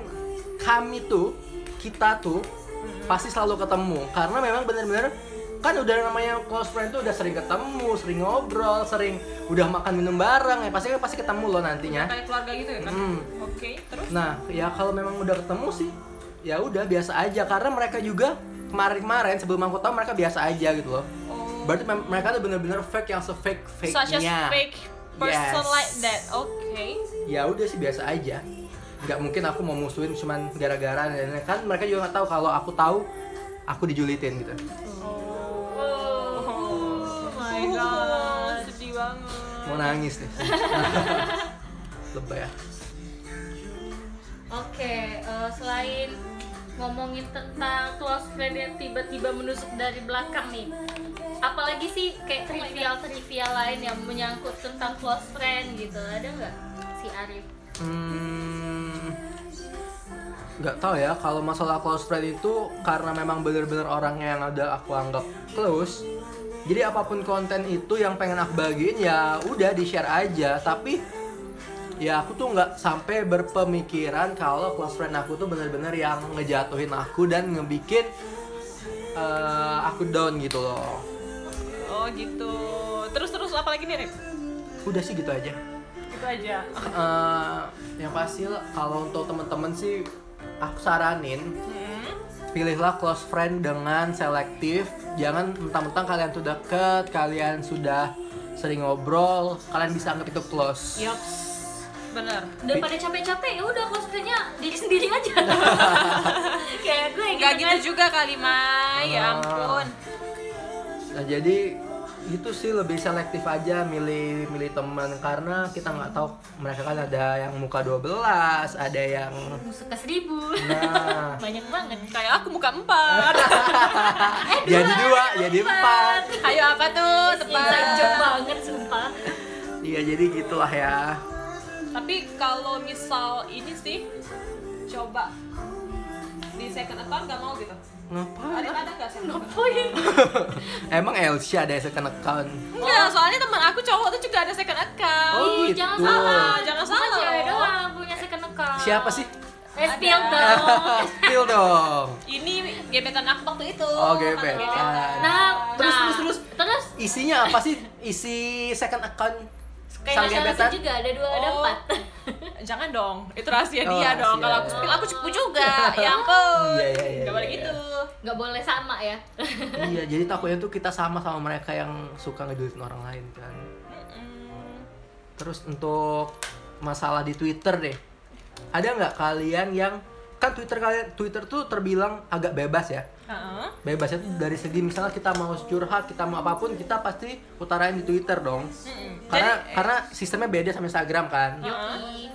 [SPEAKER 3] kami tuh kita tuh
[SPEAKER 4] Mm-hmm.
[SPEAKER 3] pasti selalu ketemu karena memang benar-benar kan udah namanya close friend tuh udah sering ketemu, sering ngobrol, sering udah makan minum bareng ya pasti pasti ketemu loh nantinya.
[SPEAKER 4] Kayak keluarga gitu ya kan.
[SPEAKER 3] Hmm.
[SPEAKER 4] Oke, terus
[SPEAKER 3] Nah, ya kalau memang udah ketemu sih, ya udah biasa aja karena mereka juga kemarin-kemarin sebelum aku tahu mereka biasa aja gitu loh.
[SPEAKER 4] Oh.
[SPEAKER 3] Berarti mem- mereka tuh bener-bener fake yang se-fake fake
[SPEAKER 4] such a fake person
[SPEAKER 3] Yes.
[SPEAKER 4] like that. Oke.
[SPEAKER 3] Ya udah sih biasa aja. Nggak mungkin aku mau musuhin cuman gara-gara dan lain-lain. kan mereka juga nggak tahu kalau aku tahu aku dijulitin gitu.
[SPEAKER 4] Oh my god, sedih banget.
[SPEAKER 3] Mau nangis nih. Lebay ya.
[SPEAKER 2] Oke, eh, selain ngomongin tentang close friend yang tiba-tiba menusuk dari belakang nih, apalagi sih kayak trivial-trivial lain yang menyangkut tentang close friend gitu, ada nggak si Arif?
[SPEAKER 3] Hmm, nggak tahu ya kalau masalah close friend itu karena memang bener-bener orang yang ada aku anggap close jadi apapun konten itu yang pengen aku bagiin ya udah di share aja tapi ya aku tuh nggak sampai berpemikiran kalau close friend aku tuh bener-bener yang ngejatuhin aku dan ngebikin eh, aku down gitu loh
[SPEAKER 4] Oh gitu. Terus terus apa lagi nih, Rip?
[SPEAKER 3] udah sih gitu aja
[SPEAKER 4] Itu aja.
[SPEAKER 3] Eh, yang pasti lah, kalau untuk temen-temen sih aku saranin pilihlah close friend dengan selektif jangan mentang-mentang kalian tuh deket kalian sudah sering ngobrol kalian bisa anggap itu close
[SPEAKER 4] Yops. Bener.
[SPEAKER 2] Daripada capek-capek, ya udah close friendnya diri sendiri aja. kayak gue
[SPEAKER 4] Enggak
[SPEAKER 2] kan.
[SPEAKER 4] gitu juga kali, Mai.
[SPEAKER 3] Ah.
[SPEAKER 4] Ya ampun.
[SPEAKER 3] nah jadi itu sih lebih selektif aja milih milih teman karena kita nggak tahu mereka kan ada yang muka 12 ada yang
[SPEAKER 2] Suka seribu,
[SPEAKER 3] nah
[SPEAKER 2] banyak banget.
[SPEAKER 4] Kayak aku muka empat.
[SPEAKER 3] Iya, jadi dua jadi empat
[SPEAKER 4] Ayo apa tuh?
[SPEAKER 2] Inside joke
[SPEAKER 4] Tebak.
[SPEAKER 2] banget sumpah.
[SPEAKER 3] Iya jadi gitulah ya.
[SPEAKER 4] tapi kalau misal ini sih coba di second account nggak mau gitu
[SPEAKER 3] Ngapain?
[SPEAKER 4] ada ada nggak second account
[SPEAKER 2] Ngapain?
[SPEAKER 3] Emang Elsia ada second account?
[SPEAKER 4] Enggak, soalnya teman aku cowok tuh juga ada second account
[SPEAKER 3] Oh,
[SPEAKER 2] Ih,
[SPEAKER 3] gitu.
[SPEAKER 2] Jangan salah,
[SPEAKER 4] Jangan
[SPEAKER 2] Bukan
[SPEAKER 4] salah.
[SPEAKER 2] Cewek doang punya second account.
[SPEAKER 3] Siapa sih?
[SPEAKER 2] Eh, spill
[SPEAKER 4] Ada.
[SPEAKER 2] dong.
[SPEAKER 3] Spill dong.
[SPEAKER 4] ini gebetan aku waktu itu
[SPEAKER 3] Oh, gebetan.
[SPEAKER 4] mantan gebetan.
[SPEAKER 2] Nah,
[SPEAKER 3] Terus,
[SPEAKER 2] nah.
[SPEAKER 3] terus, terus.
[SPEAKER 2] Terus
[SPEAKER 3] Isinya apa sih? Isi second account
[SPEAKER 2] kayak
[SPEAKER 3] sang
[SPEAKER 2] nasionalisasi
[SPEAKER 3] gebetan?
[SPEAKER 2] juga ada dua, ada
[SPEAKER 4] Oh.
[SPEAKER 2] empat.
[SPEAKER 4] jangan dong itu rahasia
[SPEAKER 3] Oh,
[SPEAKER 4] dia dong
[SPEAKER 3] rahasia.
[SPEAKER 4] kalau aku spill aku cepu juga ya ampun
[SPEAKER 3] Iya, iya, iya,
[SPEAKER 4] nggak boleh
[SPEAKER 3] iya.
[SPEAKER 4] gitu
[SPEAKER 2] Nggak boleh sama ya.
[SPEAKER 3] Iya, jadi takutnya tuh kita sama sama mereka yang suka ngedulitin orang lain kan. Terus untuk masalah di Twitter deh, ada nggak kalian yang kan Twitter kalian Twitter tuh terbilang agak bebas ya?
[SPEAKER 4] Heeh.
[SPEAKER 3] Bebasnya tuh dari segi misalnya kita mau curhat, kita mau apapun, kita pasti utarain di Twitter dong. Karena
[SPEAKER 4] Jadi-
[SPEAKER 3] karena sistemnya beda sama Instagram kan.
[SPEAKER 2] Yoi.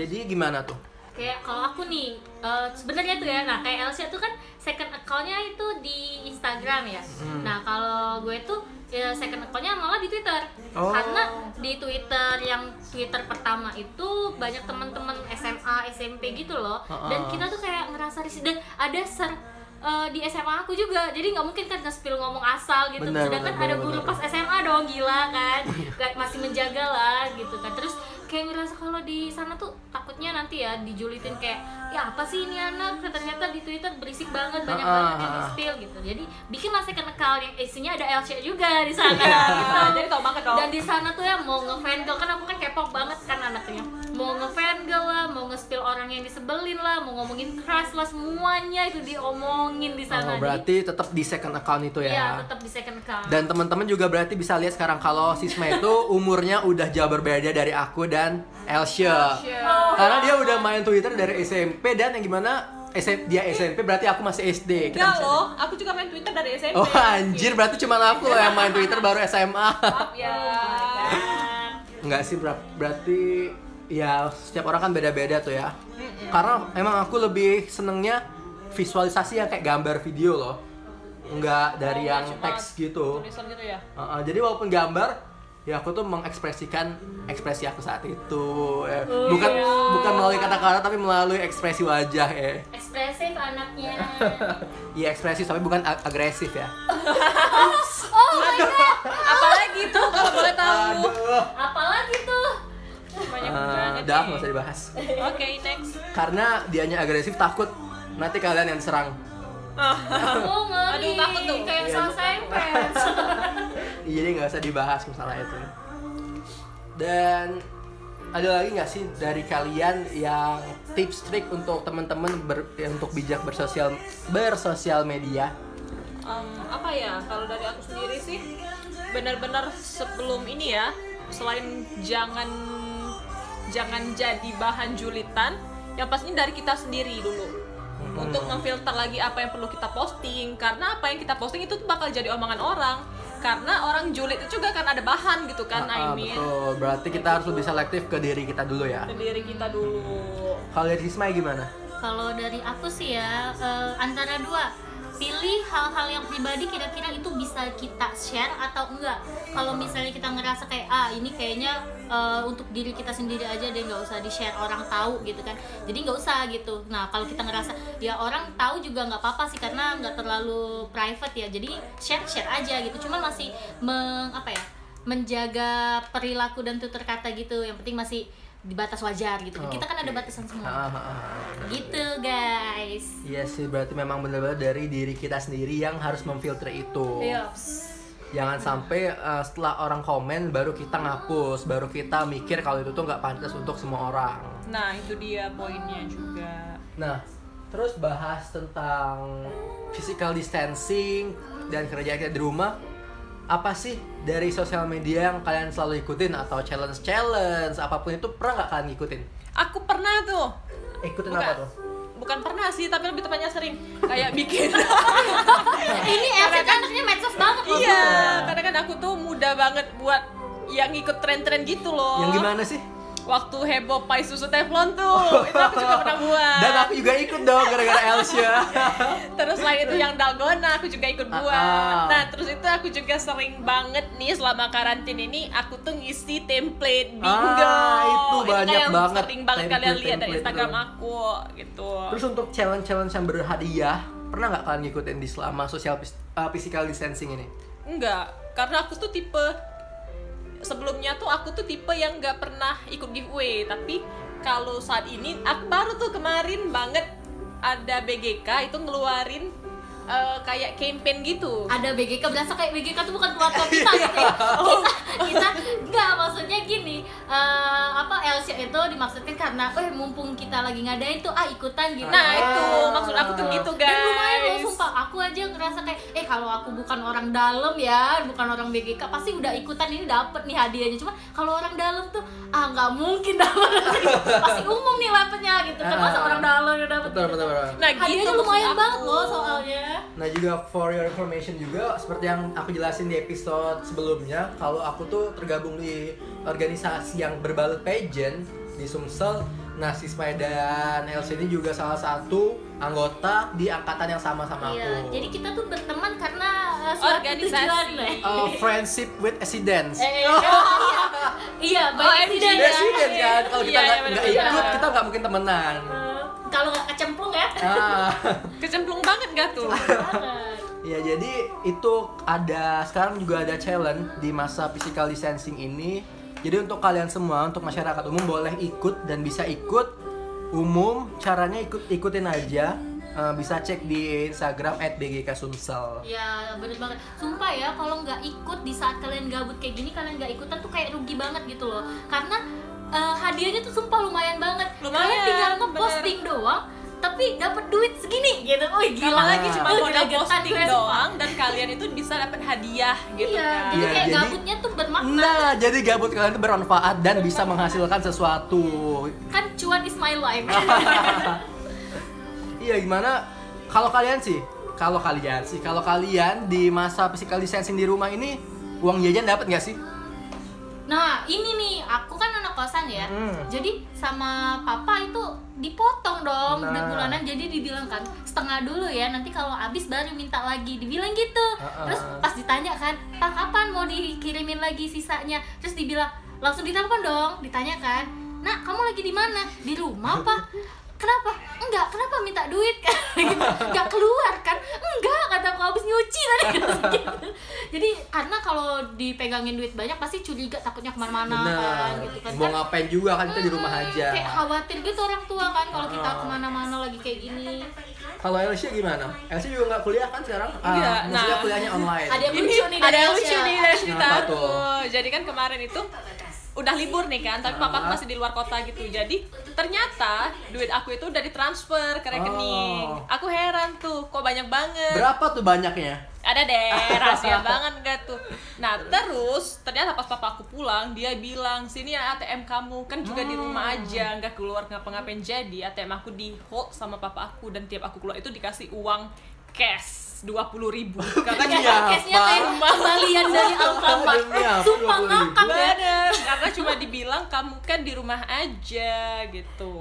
[SPEAKER 3] Jadi gimana tuh?
[SPEAKER 2] kayak kalau aku nih eh, sebenarnya tuh ya nah kayak Elsia tuh kan second accountnya itu di Instagram ya
[SPEAKER 3] Hmm.
[SPEAKER 2] nah kalau gue tuh ya, second accountnya malah di Twitter
[SPEAKER 3] Oh.
[SPEAKER 2] karena di Twitter yang Twitter pertama itu banyak teman-teman SMA SMP gitu loh
[SPEAKER 3] Ha-ha.
[SPEAKER 2] dan kita tuh kayak ngerasa risih dan ada ser eh, di SMA aku juga jadi nggak mungkin kan nge-spill ngomong asal gitu
[SPEAKER 3] Benar,
[SPEAKER 2] sedangkan
[SPEAKER 3] benar,
[SPEAKER 2] ada
[SPEAKER 3] benar,
[SPEAKER 2] guru
[SPEAKER 3] benar.
[SPEAKER 2] pas SMA dong gila kan Gak- masih menjaga lah gitu kan terus kayak ngerasa kalau di sana tuh takutnya nanti ya dijulitin kayak ya apa sih ini anak ternyata di Twitter berisik banget banyak
[SPEAKER 3] Ah,
[SPEAKER 2] banget yang
[SPEAKER 3] ah, ah.
[SPEAKER 2] di-spill gitu jadi bikinlah second account yang isinya ada LC juga di sana
[SPEAKER 4] Nah,
[SPEAKER 2] gitu
[SPEAKER 4] jadi tau banget dong
[SPEAKER 2] dan di sana tuh ya mau ngefangirl kan aku kan K-pop banget kan anaknya mau ngefangirl lah mau nge-spill orang yang disebelin lah mau ngomongin crush lah semuanya itu diomongin di sana
[SPEAKER 3] Oh, berarti tetap di second account itu
[SPEAKER 2] Jadi, ya
[SPEAKER 3] ya.
[SPEAKER 2] tetap di second account
[SPEAKER 3] Dan teman-teman juga berarti bisa lihat sekarang kalau Sisma itu umurnya udah jauh berbeda dari aku dan Elsia. Oh. Karena dia udah main Twitter dari SMP dan yang gimana SM dia SMP berarti aku masih SD. Kita bisa-
[SPEAKER 4] enggak loh aku juga main Twitter dari SMP
[SPEAKER 3] Oh anjir berarti cuma aku loh yang main Twitter baru SMA.
[SPEAKER 4] maaf ya
[SPEAKER 3] Oh Enggak sih ber- berarti ya setiap orang kan beda-beda tuh ya. Karena emang aku lebih senengnya visualisasi yang kayak gambar video loh. Enggak dari
[SPEAKER 4] Oh,
[SPEAKER 3] yang
[SPEAKER 4] cuma
[SPEAKER 3] teks gitu.
[SPEAKER 4] tulisan gitu ya
[SPEAKER 3] Uh, uh, jadi walaupun gambar ya aku tuh mengekspresikan ekspresi aku saat itu eh,
[SPEAKER 4] Oh,
[SPEAKER 3] bukan
[SPEAKER 4] iya.
[SPEAKER 3] bukan melalui kata-kata tapi melalui ekspresi wajah eh
[SPEAKER 2] ekspresif anaknya
[SPEAKER 3] ya ekspresif tapi bukan ag- agresif ya
[SPEAKER 2] Oh
[SPEAKER 4] apalagi tuh kalau boleh tahu
[SPEAKER 3] aduh
[SPEAKER 2] apalagi tuh
[SPEAKER 4] banyak
[SPEAKER 3] uh,
[SPEAKER 4] banget
[SPEAKER 3] dah
[SPEAKER 4] nih.
[SPEAKER 3] nggak usah dibahas
[SPEAKER 4] oke next
[SPEAKER 3] karena dianya agresif takut nanti kalian yang serang
[SPEAKER 2] aku ngeri
[SPEAKER 4] Aduh, takut tuh.
[SPEAKER 2] kayak
[SPEAKER 3] Iya.
[SPEAKER 2] salah sempet
[SPEAKER 3] jadi nggak usah dibahas masalah itu dan ada lagi nggak sih dari kalian yang tips trik untuk teman-teman ber- eh, untuk bijak bersosial bersosial media
[SPEAKER 4] Em, apa ya kalau dari aku sendiri sih benar-benar sebelum ini ya selain jangan jangan jadi bahan julitan yang pastinya dari kita sendiri dulu
[SPEAKER 3] Hmm.
[SPEAKER 4] untuk memfilter lagi apa yang perlu kita posting karena apa yang kita posting itu tuh bakal jadi omongan orang karena orang julid itu juga kan ada bahan gitu kan
[SPEAKER 3] Ah,
[SPEAKER 4] I mean
[SPEAKER 3] betul. Berarti kita harus lebih selektif ke diri kita dulu ya.
[SPEAKER 4] sendiri kita dulu
[SPEAKER 3] Kalau dari Sisma gimana?
[SPEAKER 2] kalau dari aku sih ya eh, antara dua pilih hal-hal yang pribadi kira-kira itu bisa kita share atau enggak kalau misalnya kita ngerasa kayak ah ini kayaknya eh, untuk diri kita sendiri aja deh nggak usah di share orang tahu gitu kan jadi nggak usah gitu nah kalau kita ngerasa ya orang tahu juga nggak apa-apa sih karena nggak terlalu private ya jadi share share aja gitu cuman masih meng apa ya menjaga perilaku dan tutur kata gitu yang penting masih di batas wajar gitu kita kan ada
[SPEAKER 3] Oke.
[SPEAKER 2] batasan semua
[SPEAKER 3] Ah, ah, ah.
[SPEAKER 2] gitu guys
[SPEAKER 3] Iya sih, berarti memang benar-benar dari diri kita sendiri yang harus memfilter itu.
[SPEAKER 4] Iya.
[SPEAKER 3] Jangan sampai eh, setelah orang komen baru kita ngapus, baru kita mikir kalau itu tuh nggak pantas untuk semua orang.
[SPEAKER 4] nah itu dia poinnya juga
[SPEAKER 3] Nah, terus bahas tentang physical distancing dan kerja kita di rumah. Apa sih dari sosial media yang kalian selalu ikutin atau challenge challenge apapun itu pernah nggak kalian ikutin?
[SPEAKER 4] aku pernah tuh
[SPEAKER 3] Ikutin
[SPEAKER 4] Bukan.
[SPEAKER 3] apa tuh?
[SPEAKER 4] bukan pernah sih tapi lebih tepatnya sering kayak bikin
[SPEAKER 3] Iya.
[SPEAKER 2] ini efek anaknya medsos banget loh
[SPEAKER 4] iya karena kan aku tuh muda banget buat yang ngikut tren-tren gitu loh
[SPEAKER 3] Yang gimana sih?
[SPEAKER 4] waktu heboh pai susu teflon tuh itu aku juga pernah buat
[SPEAKER 3] Dan aku juga ikut dong gara-gara ya. Elsia.
[SPEAKER 4] terus lain itu yang dalgona aku juga ikut buat
[SPEAKER 3] Ah.
[SPEAKER 4] nah terus itu aku juga sering banget nih selama karantin ini aku tuh ngisi template bingo
[SPEAKER 3] Ah, itu
[SPEAKER 4] kan
[SPEAKER 3] banyak
[SPEAKER 4] yang
[SPEAKER 3] banget
[SPEAKER 4] sering banget kalian
[SPEAKER 3] template-
[SPEAKER 4] lihat dari
[SPEAKER 3] template
[SPEAKER 4] instagram
[SPEAKER 3] itu.
[SPEAKER 4] aku gitu
[SPEAKER 3] Terus untuk challenge-challenge yang berhadiah, pernah nggak kalian ngikutin di selama social phys- uh, physical distancing ini?
[SPEAKER 4] Enggak, karena aku tuh tipe sebelumnya tuh aku tuh tipe yang nggak pernah ikut giveaway, tapi kalau saat ini aku baru tuh kemarin banget ada BGK itu ngeluarin eh, kayak campaign gitu.
[SPEAKER 2] ada BGK berasa kayak BGK tuh bukan keluarga kita gitu ya kita kita nggak maksudnya gini eh, apa Elsia itu dimaksudnya karena eh mumpung kita lagi ngadain tuh ah ikutan gitu
[SPEAKER 4] Nah, itu maksud aku tuh gitu, guys.
[SPEAKER 2] dan lumayan loh sumpah aku aja ngerasa kayak eh kalau aku bukan orang dalam ya bukan orang BGK pasti udah ikutan ini dapet nih hadiahnya cuma kalau orang dalam tuh ah nggak mungkin dapet pasti umum nih dapetnya gitu kan masa
[SPEAKER 3] Ah.
[SPEAKER 2] orang dalam yang dapet gitu.
[SPEAKER 3] Betul, betul, betul.
[SPEAKER 4] Nah,
[SPEAKER 2] hadiahnya
[SPEAKER 4] maksud
[SPEAKER 2] lumayan
[SPEAKER 4] aku.
[SPEAKER 2] banget loh soalnya
[SPEAKER 3] Nah juga for your information juga seperti yang aku jelasin di episode sebelumnya kalau aku tuh tergabung di organisasi yang berbalut pageant di Sumsel. Nah Sismai dan Elsa ini juga salah satu anggota di angkatan yang sama sama
[SPEAKER 2] Iya,
[SPEAKER 3] aku.
[SPEAKER 2] jadi kita tuh berteman karena uh, suatu
[SPEAKER 4] Organisasi.
[SPEAKER 2] tujuan Nek.
[SPEAKER 3] Uh, friendship with accidents.
[SPEAKER 2] Eh, iya. iya,
[SPEAKER 4] Oh,
[SPEAKER 2] baik
[SPEAKER 4] iya,
[SPEAKER 3] Yes, you can,
[SPEAKER 2] tidak ya.
[SPEAKER 3] kan? Kalau kita
[SPEAKER 4] Iya,
[SPEAKER 3] nggak
[SPEAKER 4] iya, benar,
[SPEAKER 3] nggak
[SPEAKER 4] benar.
[SPEAKER 3] ikut kita nggak mungkin temenan.
[SPEAKER 2] Eh, Kalau nggak kecemplung ya.
[SPEAKER 3] Ah.
[SPEAKER 4] Kecemplung banget gak tuh?
[SPEAKER 2] Banget.
[SPEAKER 3] Ya jadi itu ada sekarang juga ada challenge di masa physical distancing ini. Jadi untuk kalian semua, untuk masyarakat umum boleh ikut dan bisa ikut umum. Caranya ikut ikutin aja. Eh, bisa cek di Instagram @bgksumsel.
[SPEAKER 2] Ya bener banget. Sumpah ya kalau nggak ikut di saat kalian gabut kayak gini kalian nggak ikutan tuh kayak rugi banget gitu loh. Karena eh, hadiahnya tuh sumpah lumayan banget.
[SPEAKER 4] Lumayan,
[SPEAKER 2] kalian tinggal ngeposting doang tapi dapat duit segini gitu. Wih gila
[SPEAKER 4] Apalagi cuma
[SPEAKER 2] Wih,
[SPEAKER 4] modal
[SPEAKER 2] gregetan
[SPEAKER 4] posting
[SPEAKER 2] gue, sumpah.
[SPEAKER 4] doang dan kalian itu bisa dapat hadiah gitu
[SPEAKER 2] Iya,
[SPEAKER 4] kan.
[SPEAKER 2] jadi
[SPEAKER 3] Iya,
[SPEAKER 2] kayak
[SPEAKER 3] jadi-
[SPEAKER 2] gabutnya tuh bermakna.
[SPEAKER 3] Nah, jadi gabut kalian itu bermanfaat dan bisa menghasilkan sesuatu.
[SPEAKER 2] Kan cuan is my life.
[SPEAKER 3] Nah. Iya gimana? Kalau kalian sih, kalau kalian sih, kalau kalian di masa physical distancing di rumah ini uang jajan dapat nggak sih?
[SPEAKER 2] Nah, ini nih, aku kan anak kosan ya.
[SPEAKER 3] Hmm.
[SPEAKER 2] Jadi sama papa itu dipotong dong
[SPEAKER 3] Nah.
[SPEAKER 2] di bulanan. Jadi dibilang kan setengah dulu ya. Nanti kalau habis baru minta lagi. Dibilang gitu.
[SPEAKER 3] Ah, ah.
[SPEAKER 2] Terus pas ditanya kan, "Pak, kapan mau dikirimin lagi sisanya?" Terus dibilang, "Langsung ditelepon dong." Ditanya kan, "Nak, kamu lagi di mana?" "Di rumah, Pak." Kenapa? Enggak, kenapa minta duit? gitu. Enggak keluar kan? Enggak, kata aku habis nyuci tadi. Gitu. Jadi karena kalau dipegangin duit banyak pasti curiga takutnya kemana-mana kan gitu kan. Kan,
[SPEAKER 3] Mau ngapain juga kan kita di rumah
[SPEAKER 2] hmm,
[SPEAKER 3] aja.
[SPEAKER 2] Kayak khawatir gitu orang tua kan kalau kita
[SPEAKER 3] Ah.
[SPEAKER 2] kemana-mana lagi kayak gini.
[SPEAKER 3] Kalau Elsie gimana? Elsie juga nggak kuliah kan sekarang? Ah,
[SPEAKER 4] Iya,
[SPEAKER 3] maksudnya
[SPEAKER 4] nah.
[SPEAKER 3] kuliahnya online.
[SPEAKER 2] Ada yang
[SPEAKER 4] Ini
[SPEAKER 2] lucu nih
[SPEAKER 4] ada
[SPEAKER 2] dari ya.
[SPEAKER 4] yang
[SPEAKER 2] Elsia.
[SPEAKER 4] lucu nih dari cerita
[SPEAKER 3] Kenapa
[SPEAKER 4] aku.
[SPEAKER 3] tuh?
[SPEAKER 4] Jadi kan kemarin itu udah libur nih kan, tapi papa aku masih di luar kota gitu. Jadi ternyata duit aku itu udah ditransfer ke rekening.
[SPEAKER 3] Oh.
[SPEAKER 4] Aku heran tuh, kok banyak banget.
[SPEAKER 3] Berapa tuh banyaknya?
[SPEAKER 4] Ada deh, rahasia banget gak tuh. Nah terus ternyata pas papa aku pulang, dia bilang sini ya ATM kamu kan juga di rumah
[SPEAKER 3] Hmm.
[SPEAKER 4] aja, nggak keluar ngapa-ngapain. Jadi ATM aku di hold sama papa aku dan tiap aku keluar itu dikasih uang cash dua puluh ribu.
[SPEAKER 3] Kakak
[SPEAKER 2] Kayak podcastnya kayak Iya, kembalian dari Alfamart.
[SPEAKER 3] Demi apa?
[SPEAKER 2] eh, Sumpah
[SPEAKER 3] 20.000.
[SPEAKER 2] ngakak ya.
[SPEAKER 4] Bener, karena cuma dibilang kamu kan di rumah aja gitu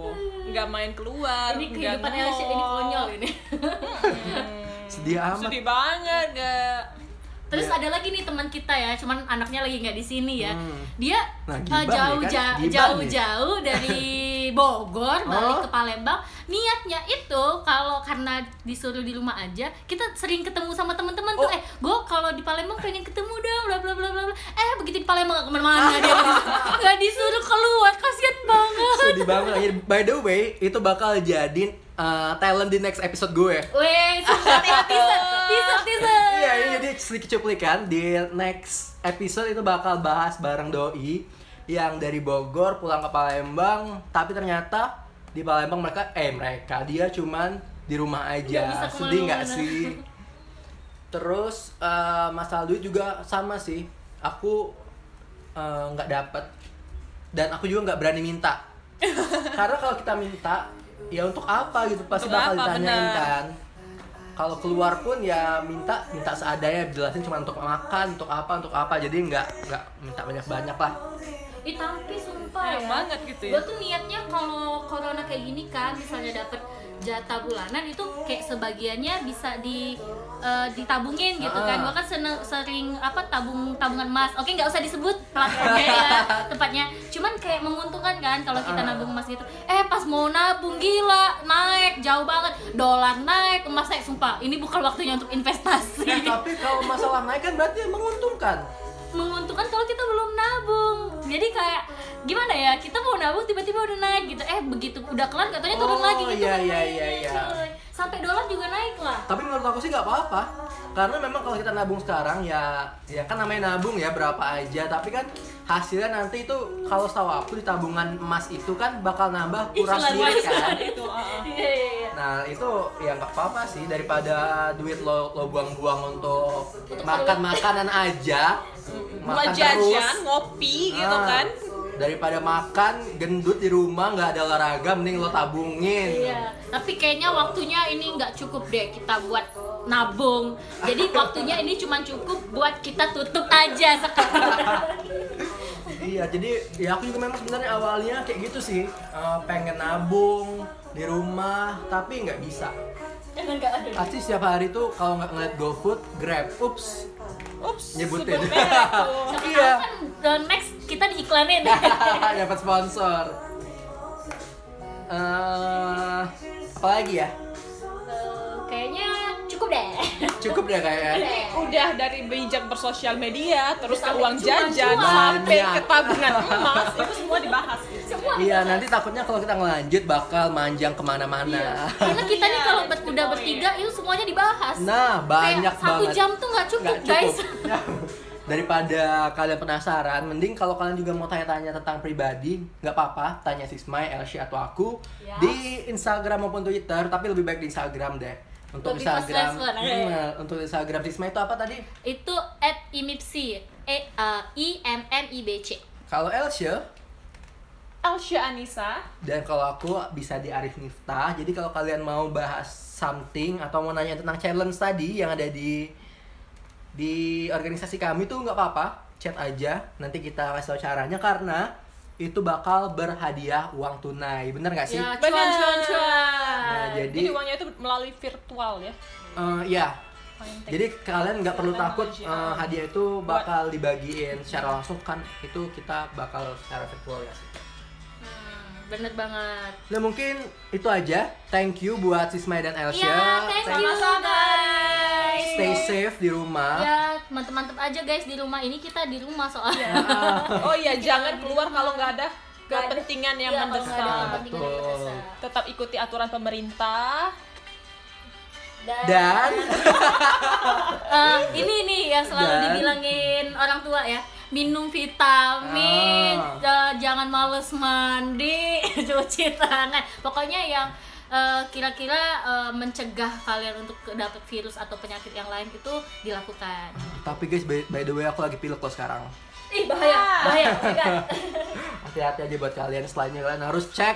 [SPEAKER 4] Nggak main keluar,
[SPEAKER 2] Hmm. Ini
[SPEAKER 4] nggak
[SPEAKER 2] kehidupan Elsia ini
[SPEAKER 4] mall.
[SPEAKER 2] konyol ya? ini.
[SPEAKER 3] Sedih amat.
[SPEAKER 4] Sedih banget gak
[SPEAKER 2] Terus
[SPEAKER 3] Iya.
[SPEAKER 2] ada lagi nih teman kita ya, cuman anaknya lagi nggak di sini ya.
[SPEAKER 3] Hmm.
[SPEAKER 2] Dia
[SPEAKER 3] Nah,
[SPEAKER 2] eh,
[SPEAKER 3] gibah nih
[SPEAKER 2] jauh
[SPEAKER 3] kan,
[SPEAKER 2] ja-
[SPEAKER 3] gibah nih.
[SPEAKER 2] jauh-jauh dari Bogor
[SPEAKER 3] Oh.
[SPEAKER 2] balik ke Palembang. Niatnya itu kalau karena disuruh di rumah aja, kita sering ketemu sama teman-teman tuh.
[SPEAKER 3] Oh.
[SPEAKER 2] Eh, gua kalau di Palembang pengen ketemu dong, bla bla bla bla. bla. Eh, begitu di Palembang nggak kemana-mana dia nggak disuruh keluar, kasihan banget.
[SPEAKER 3] Sedih banget. Ya, By the way, itu bakal jadi uh, talent di next episode gue.
[SPEAKER 2] Weh, sumpah teaser, teaser, teaser, teaser.
[SPEAKER 3] Iya, ini jadi sedikit cuplikan di next episode itu bakal bahas bareng doi yang dari Bogor pulang ke Palembang, tapi ternyata di Palembang mereka eh mereka dia cuman di rumah
[SPEAKER 2] Nggak bisa
[SPEAKER 3] aja.
[SPEAKER 2] kemana-mana.
[SPEAKER 3] Sedih nggak sih? Terus eh, masalah duit juga sama sih. Aku eh, nggak dapet dan aku juga nggak berani minta. Karena kalau kita minta ya untuk apa gitu pasti
[SPEAKER 4] Untuk
[SPEAKER 3] bakal
[SPEAKER 4] apa,
[SPEAKER 3] ditanyain
[SPEAKER 4] benar.
[SPEAKER 3] kan. Kalau keluar pun ya minta minta seadanya jelasin cuma untuk makan, untuk apa, untuk apa. Jadi nggak nggak minta banyak-banyak lah.
[SPEAKER 2] Ih tapi sumpah ya.
[SPEAKER 4] Sayang banget gitu ya.
[SPEAKER 2] Gue tuh niatnya kalau corona kayak gini kan, misalnya dapet jatah bulanan itu kayak sebagiannya bisa di eh, ditabungin gitu
[SPEAKER 3] Ah.
[SPEAKER 2] kan. Gue kan sene- sering apa tabung tabungan emas. Oke nggak usah disebut platformnya ya tepatnya. Cuman kayak menguntungkan kan kalau kita
[SPEAKER 3] Ah.
[SPEAKER 2] nabung emas gitu. Eh pas mau nabung gila naik jauh banget. Dolar naik, emas naik. Sumpah ini bukan waktunya untuk investasi.
[SPEAKER 4] Iya.
[SPEAKER 3] Eh, tapi kalau masalah naik kan berarti menguntungkan.
[SPEAKER 2] menguntungkan kalau kita belum nabung jadi kayak gimana ya kita mau nabung tiba-tiba udah naik gitu eh begitu udah kelar katanya turun
[SPEAKER 3] Oh,
[SPEAKER 2] lagi gitu
[SPEAKER 3] iya,
[SPEAKER 2] kan
[SPEAKER 3] iya,
[SPEAKER 2] naiknya,
[SPEAKER 3] iya, iya.
[SPEAKER 2] coy. sampai dolar juga naik lah
[SPEAKER 3] Tapi menurut aku sih nggak apa-apa. Karena memang kalau kita nabung sekarang ya ya kan namanya nabung ya berapa aja. Tapi kan hasilnya nanti itu kalau setahu aku di tabungan emas itu kan bakal nambah kurang
[SPEAKER 2] Iklan
[SPEAKER 3] sedikit
[SPEAKER 2] emas.
[SPEAKER 3] kan.
[SPEAKER 4] Itu, ah, ah.
[SPEAKER 2] iya iya iya
[SPEAKER 3] Nah itu ya nggak apa-apa sih daripada duit lo lo buang-buang untuk makan makanan aja,
[SPEAKER 4] Iya. Buat
[SPEAKER 3] makan
[SPEAKER 4] jajan,
[SPEAKER 3] terus.
[SPEAKER 4] ngopi gitu
[SPEAKER 3] Ah,
[SPEAKER 4] kan.
[SPEAKER 3] Daripada makan gendut di rumah nggak ada olahraga mending lo tabungin.
[SPEAKER 2] Iya, tapi kayaknya waktunya ini nggak cukup deh kita buat nabung. Jadi waktunya ini cuma cukup buat kita tutup aja sekarang.
[SPEAKER 3] Iya, jadi ya aku juga memang sebenarnya awalnya kayak gitu sih, Eh, pengen nabung di rumah, tapi nggak bisa. Pasti setiap hari tuh kalau nggak ngeliat GoFood, Grab, ups,
[SPEAKER 4] Ups,
[SPEAKER 3] nyebutin.
[SPEAKER 4] sebut merek tuh.
[SPEAKER 2] Siapa
[SPEAKER 3] Iya.
[SPEAKER 2] tahu kan uh, next kita diiklanin. Eh,
[SPEAKER 3] Dapat sponsor. Eh, apa lagi ya?
[SPEAKER 2] Uh, kayaknya cukup deh.
[SPEAKER 3] Cukup deh kayaknya.
[SPEAKER 4] Ini udah dari bijak bersosial media, terus ke
[SPEAKER 2] Sampai
[SPEAKER 4] uang
[SPEAKER 2] cuan-cuan.
[SPEAKER 4] jajan, sampai
[SPEAKER 3] Banyak.
[SPEAKER 4] ke tabungan emas, itu semua dibahas.
[SPEAKER 2] Semua
[SPEAKER 3] Iya, nanti takutnya kalau kita ngelanjut bakal manjang kemana-mana.
[SPEAKER 2] Karena kita nih
[SPEAKER 4] Iya,
[SPEAKER 2] kalau
[SPEAKER 4] that's
[SPEAKER 2] ber-
[SPEAKER 4] the
[SPEAKER 2] udah
[SPEAKER 4] point.
[SPEAKER 2] bertiga itu semuanya dibahas.
[SPEAKER 3] Nah, banyak
[SPEAKER 2] Kayak satu
[SPEAKER 3] banget.
[SPEAKER 2] jam tuh nggak cukup,
[SPEAKER 3] Nggak
[SPEAKER 2] guys.
[SPEAKER 3] Daripada kalian penasaran, mending kalau kalian juga mau tanya-tanya tentang pribadi, nggak apa-apa, tanya Sismay, Elsie atau aku
[SPEAKER 2] Ya.
[SPEAKER 3] di Instagram maupun Twitter, tapi lebih baik di Instagram deh. Untuk
[SPEAKER 2] Lebih fast ya.
[SPEAKER 3] Instagram,
[SPEAKER 2] respon, oke.
[SPEAKER 3] Nah, untuk Instagram Sismay itu apa tadi?
[SPEAKER 2] Itu at imipsi, e eh, i m m i b c.
[SPEAKER 3] Kalau Elsie
[SPEAKER 4] Elsya Anissa,
[SPEAKER 3] dan kalau aku bisa di Arif Miftah. Jadi kalau kalian mau bahas something atau mau nanya tentang challenge tadi yang ada di di organisasi kami tuh nggak apa-apa, chat aja. Nanti kita kasih tahu caranya karena itu bakal berhadiah uang tunai. Bener nggak sih?
[SPEAKER 2] Ya, cuan,
[SPEAKER 4] Benar.
[SPEAKER 2] cuan, cuan.
[SPEAKER 3] Nah,
[SPEAKER 4] jadi
[SPEAKER 3] jadi
[SPEAKER 4] uangnya itu melalui virtual ya.
[SPEAKER 3] eh, ya. Jadi kalian nggak perlu takut eh, hadiah itu bakal dibagiin secara langsung kan itu kita bakal secara virtual ya sih.
[SPEAKER 2] Hmm, bener banget.
[SPEAKER 3] Nah mungkin itu aja. Thank you buat Sismay dan Elsia.
[SPEAKER 2] Iya, thank you
[SPEAKER 4] Sama-sama.
[SPEAKER 2] guys.
[SPEAKER 3] Stay safe di rumah.
[SPEAKER 2] Ya, mantep-mantep aja guys di rumah ini kita di rumah soalnya.
[SPEAKER 4] Oh iya, jangan keluar kalau nggak ada kepentingan yang
[SPEAKER 2] Iya, kalau nggak ada
[SPEAKER 4] mendesak.
[SPEAKER 2] kepentingan yang
[SPEAKER 3] Betul.
[SPEAKER 2] mendesak.
[SPEAKER 4] Tetap ikuti aturan pemerintah.
[SPEAKER 3] Dan
[SPEAKER 2] Eh, ini nih yang selalu
[SPEAKER 3] Dan-
[SPEAKER 2] dibilangin orang tua ya minum vitamin
[SPEAKER 3] Ah.
[SPEAKER 2] eh, jangan males mandi cuci tangan Nah, pokoknya yang eh, kira-kira eh, mencegah kalian untuk ke- dapet virus atau penyakit yang lain itu dilakukan
[SPEAKER 3] tapi guys by, by the way aku lagi pilek loh sekarang.
[SPEAKER 2] ih bahaya
[SPEAKER 4] Ah.
[SPEAKER 2] bahaya oh my God.
[SPEAKER 3] Hati-hati aja buat kalian. Selainnya kalian harus cek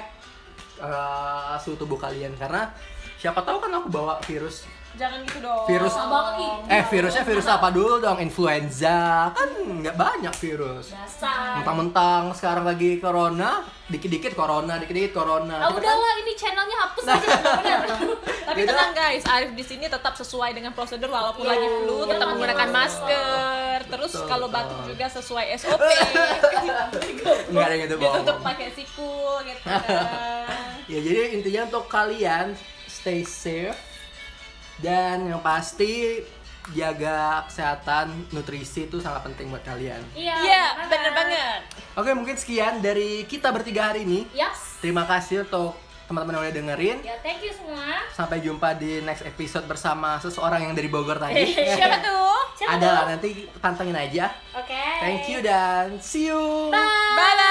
[SPEAKER 3] eh, suhu tubuh kalian karena siapa tahu kan aku bawa virus.
[SPEAKER 4] Jangan gitu dong.
[SPEAKER 3] Virus
[SPEAKER 2] Abang, ih,
[SPEAKER 3] Eh virusnya virus apa dulu dong? Influenza kan nggak banyak virus.
[SPEAKER 2] dasar
[SPEAKER 3] Mentang-mentang sekarang lagi corona, dikit-dikit corona, dikit-dikit corona.
[SPEAKER 2] ah
[SPEAKER 3] Kita kan-
[SPEAKER 2] udahlah ini channelnya hapus aja bener
[SPEAKER 4] Tapi
[SPEAKER 3] Yaudah.
[SPEAKER 4] tenang guys, Arif di sini tetap sesuai dengan prosedur walaupun lagi flu,
[SPEAKER 2] Iya,
[SPEAKER 4] tetap menggunakan
[SPEAKER 2] betul.
[SPEAKER 4] masker. Terus
[SPEAKER 3] Betul,
[SPEAKER 4] kalau
[SPEAKER 3] betul.
[SPEAKER 4] batuk juga sesuai SOP.
[SPEAKER 3] Nggak ada yang gitu, bohong.
[SPEAKER 4] Ditutup pakai sikul gitu kan.
[SPEAKER 3] ya jadi intinya untuk kalian stay safe dan yang pasti jaga kesehatan nutrisi itu sangat penting buat kalian
[SPEAKER 2] iya
[SPEAKER 4] Iya, bener banget.
[SPEAKER 3] oke mungkin sekian dari kita bertiga hari ini
[SPEAKER 2] yes
[SPEAKER 3] terima kasih untuk teman-teman yang udah dengerin
[SPEAKER 2] ya thank you semua
[SPEAKER 3] sampai jumpa di next episode bersama seseorang yang dari Bogor tadi
[SPEAKER 4] Siapa tuh?
[SPEAKER 2] Siapa
[SPEAKER 3] ada lah nanti pantengin aja
[SPEAKER 2] oke
[SPEAKER 3] thank you dan see you
[SPEAKER 2] bye
[SPEAKER 4] Bye bye.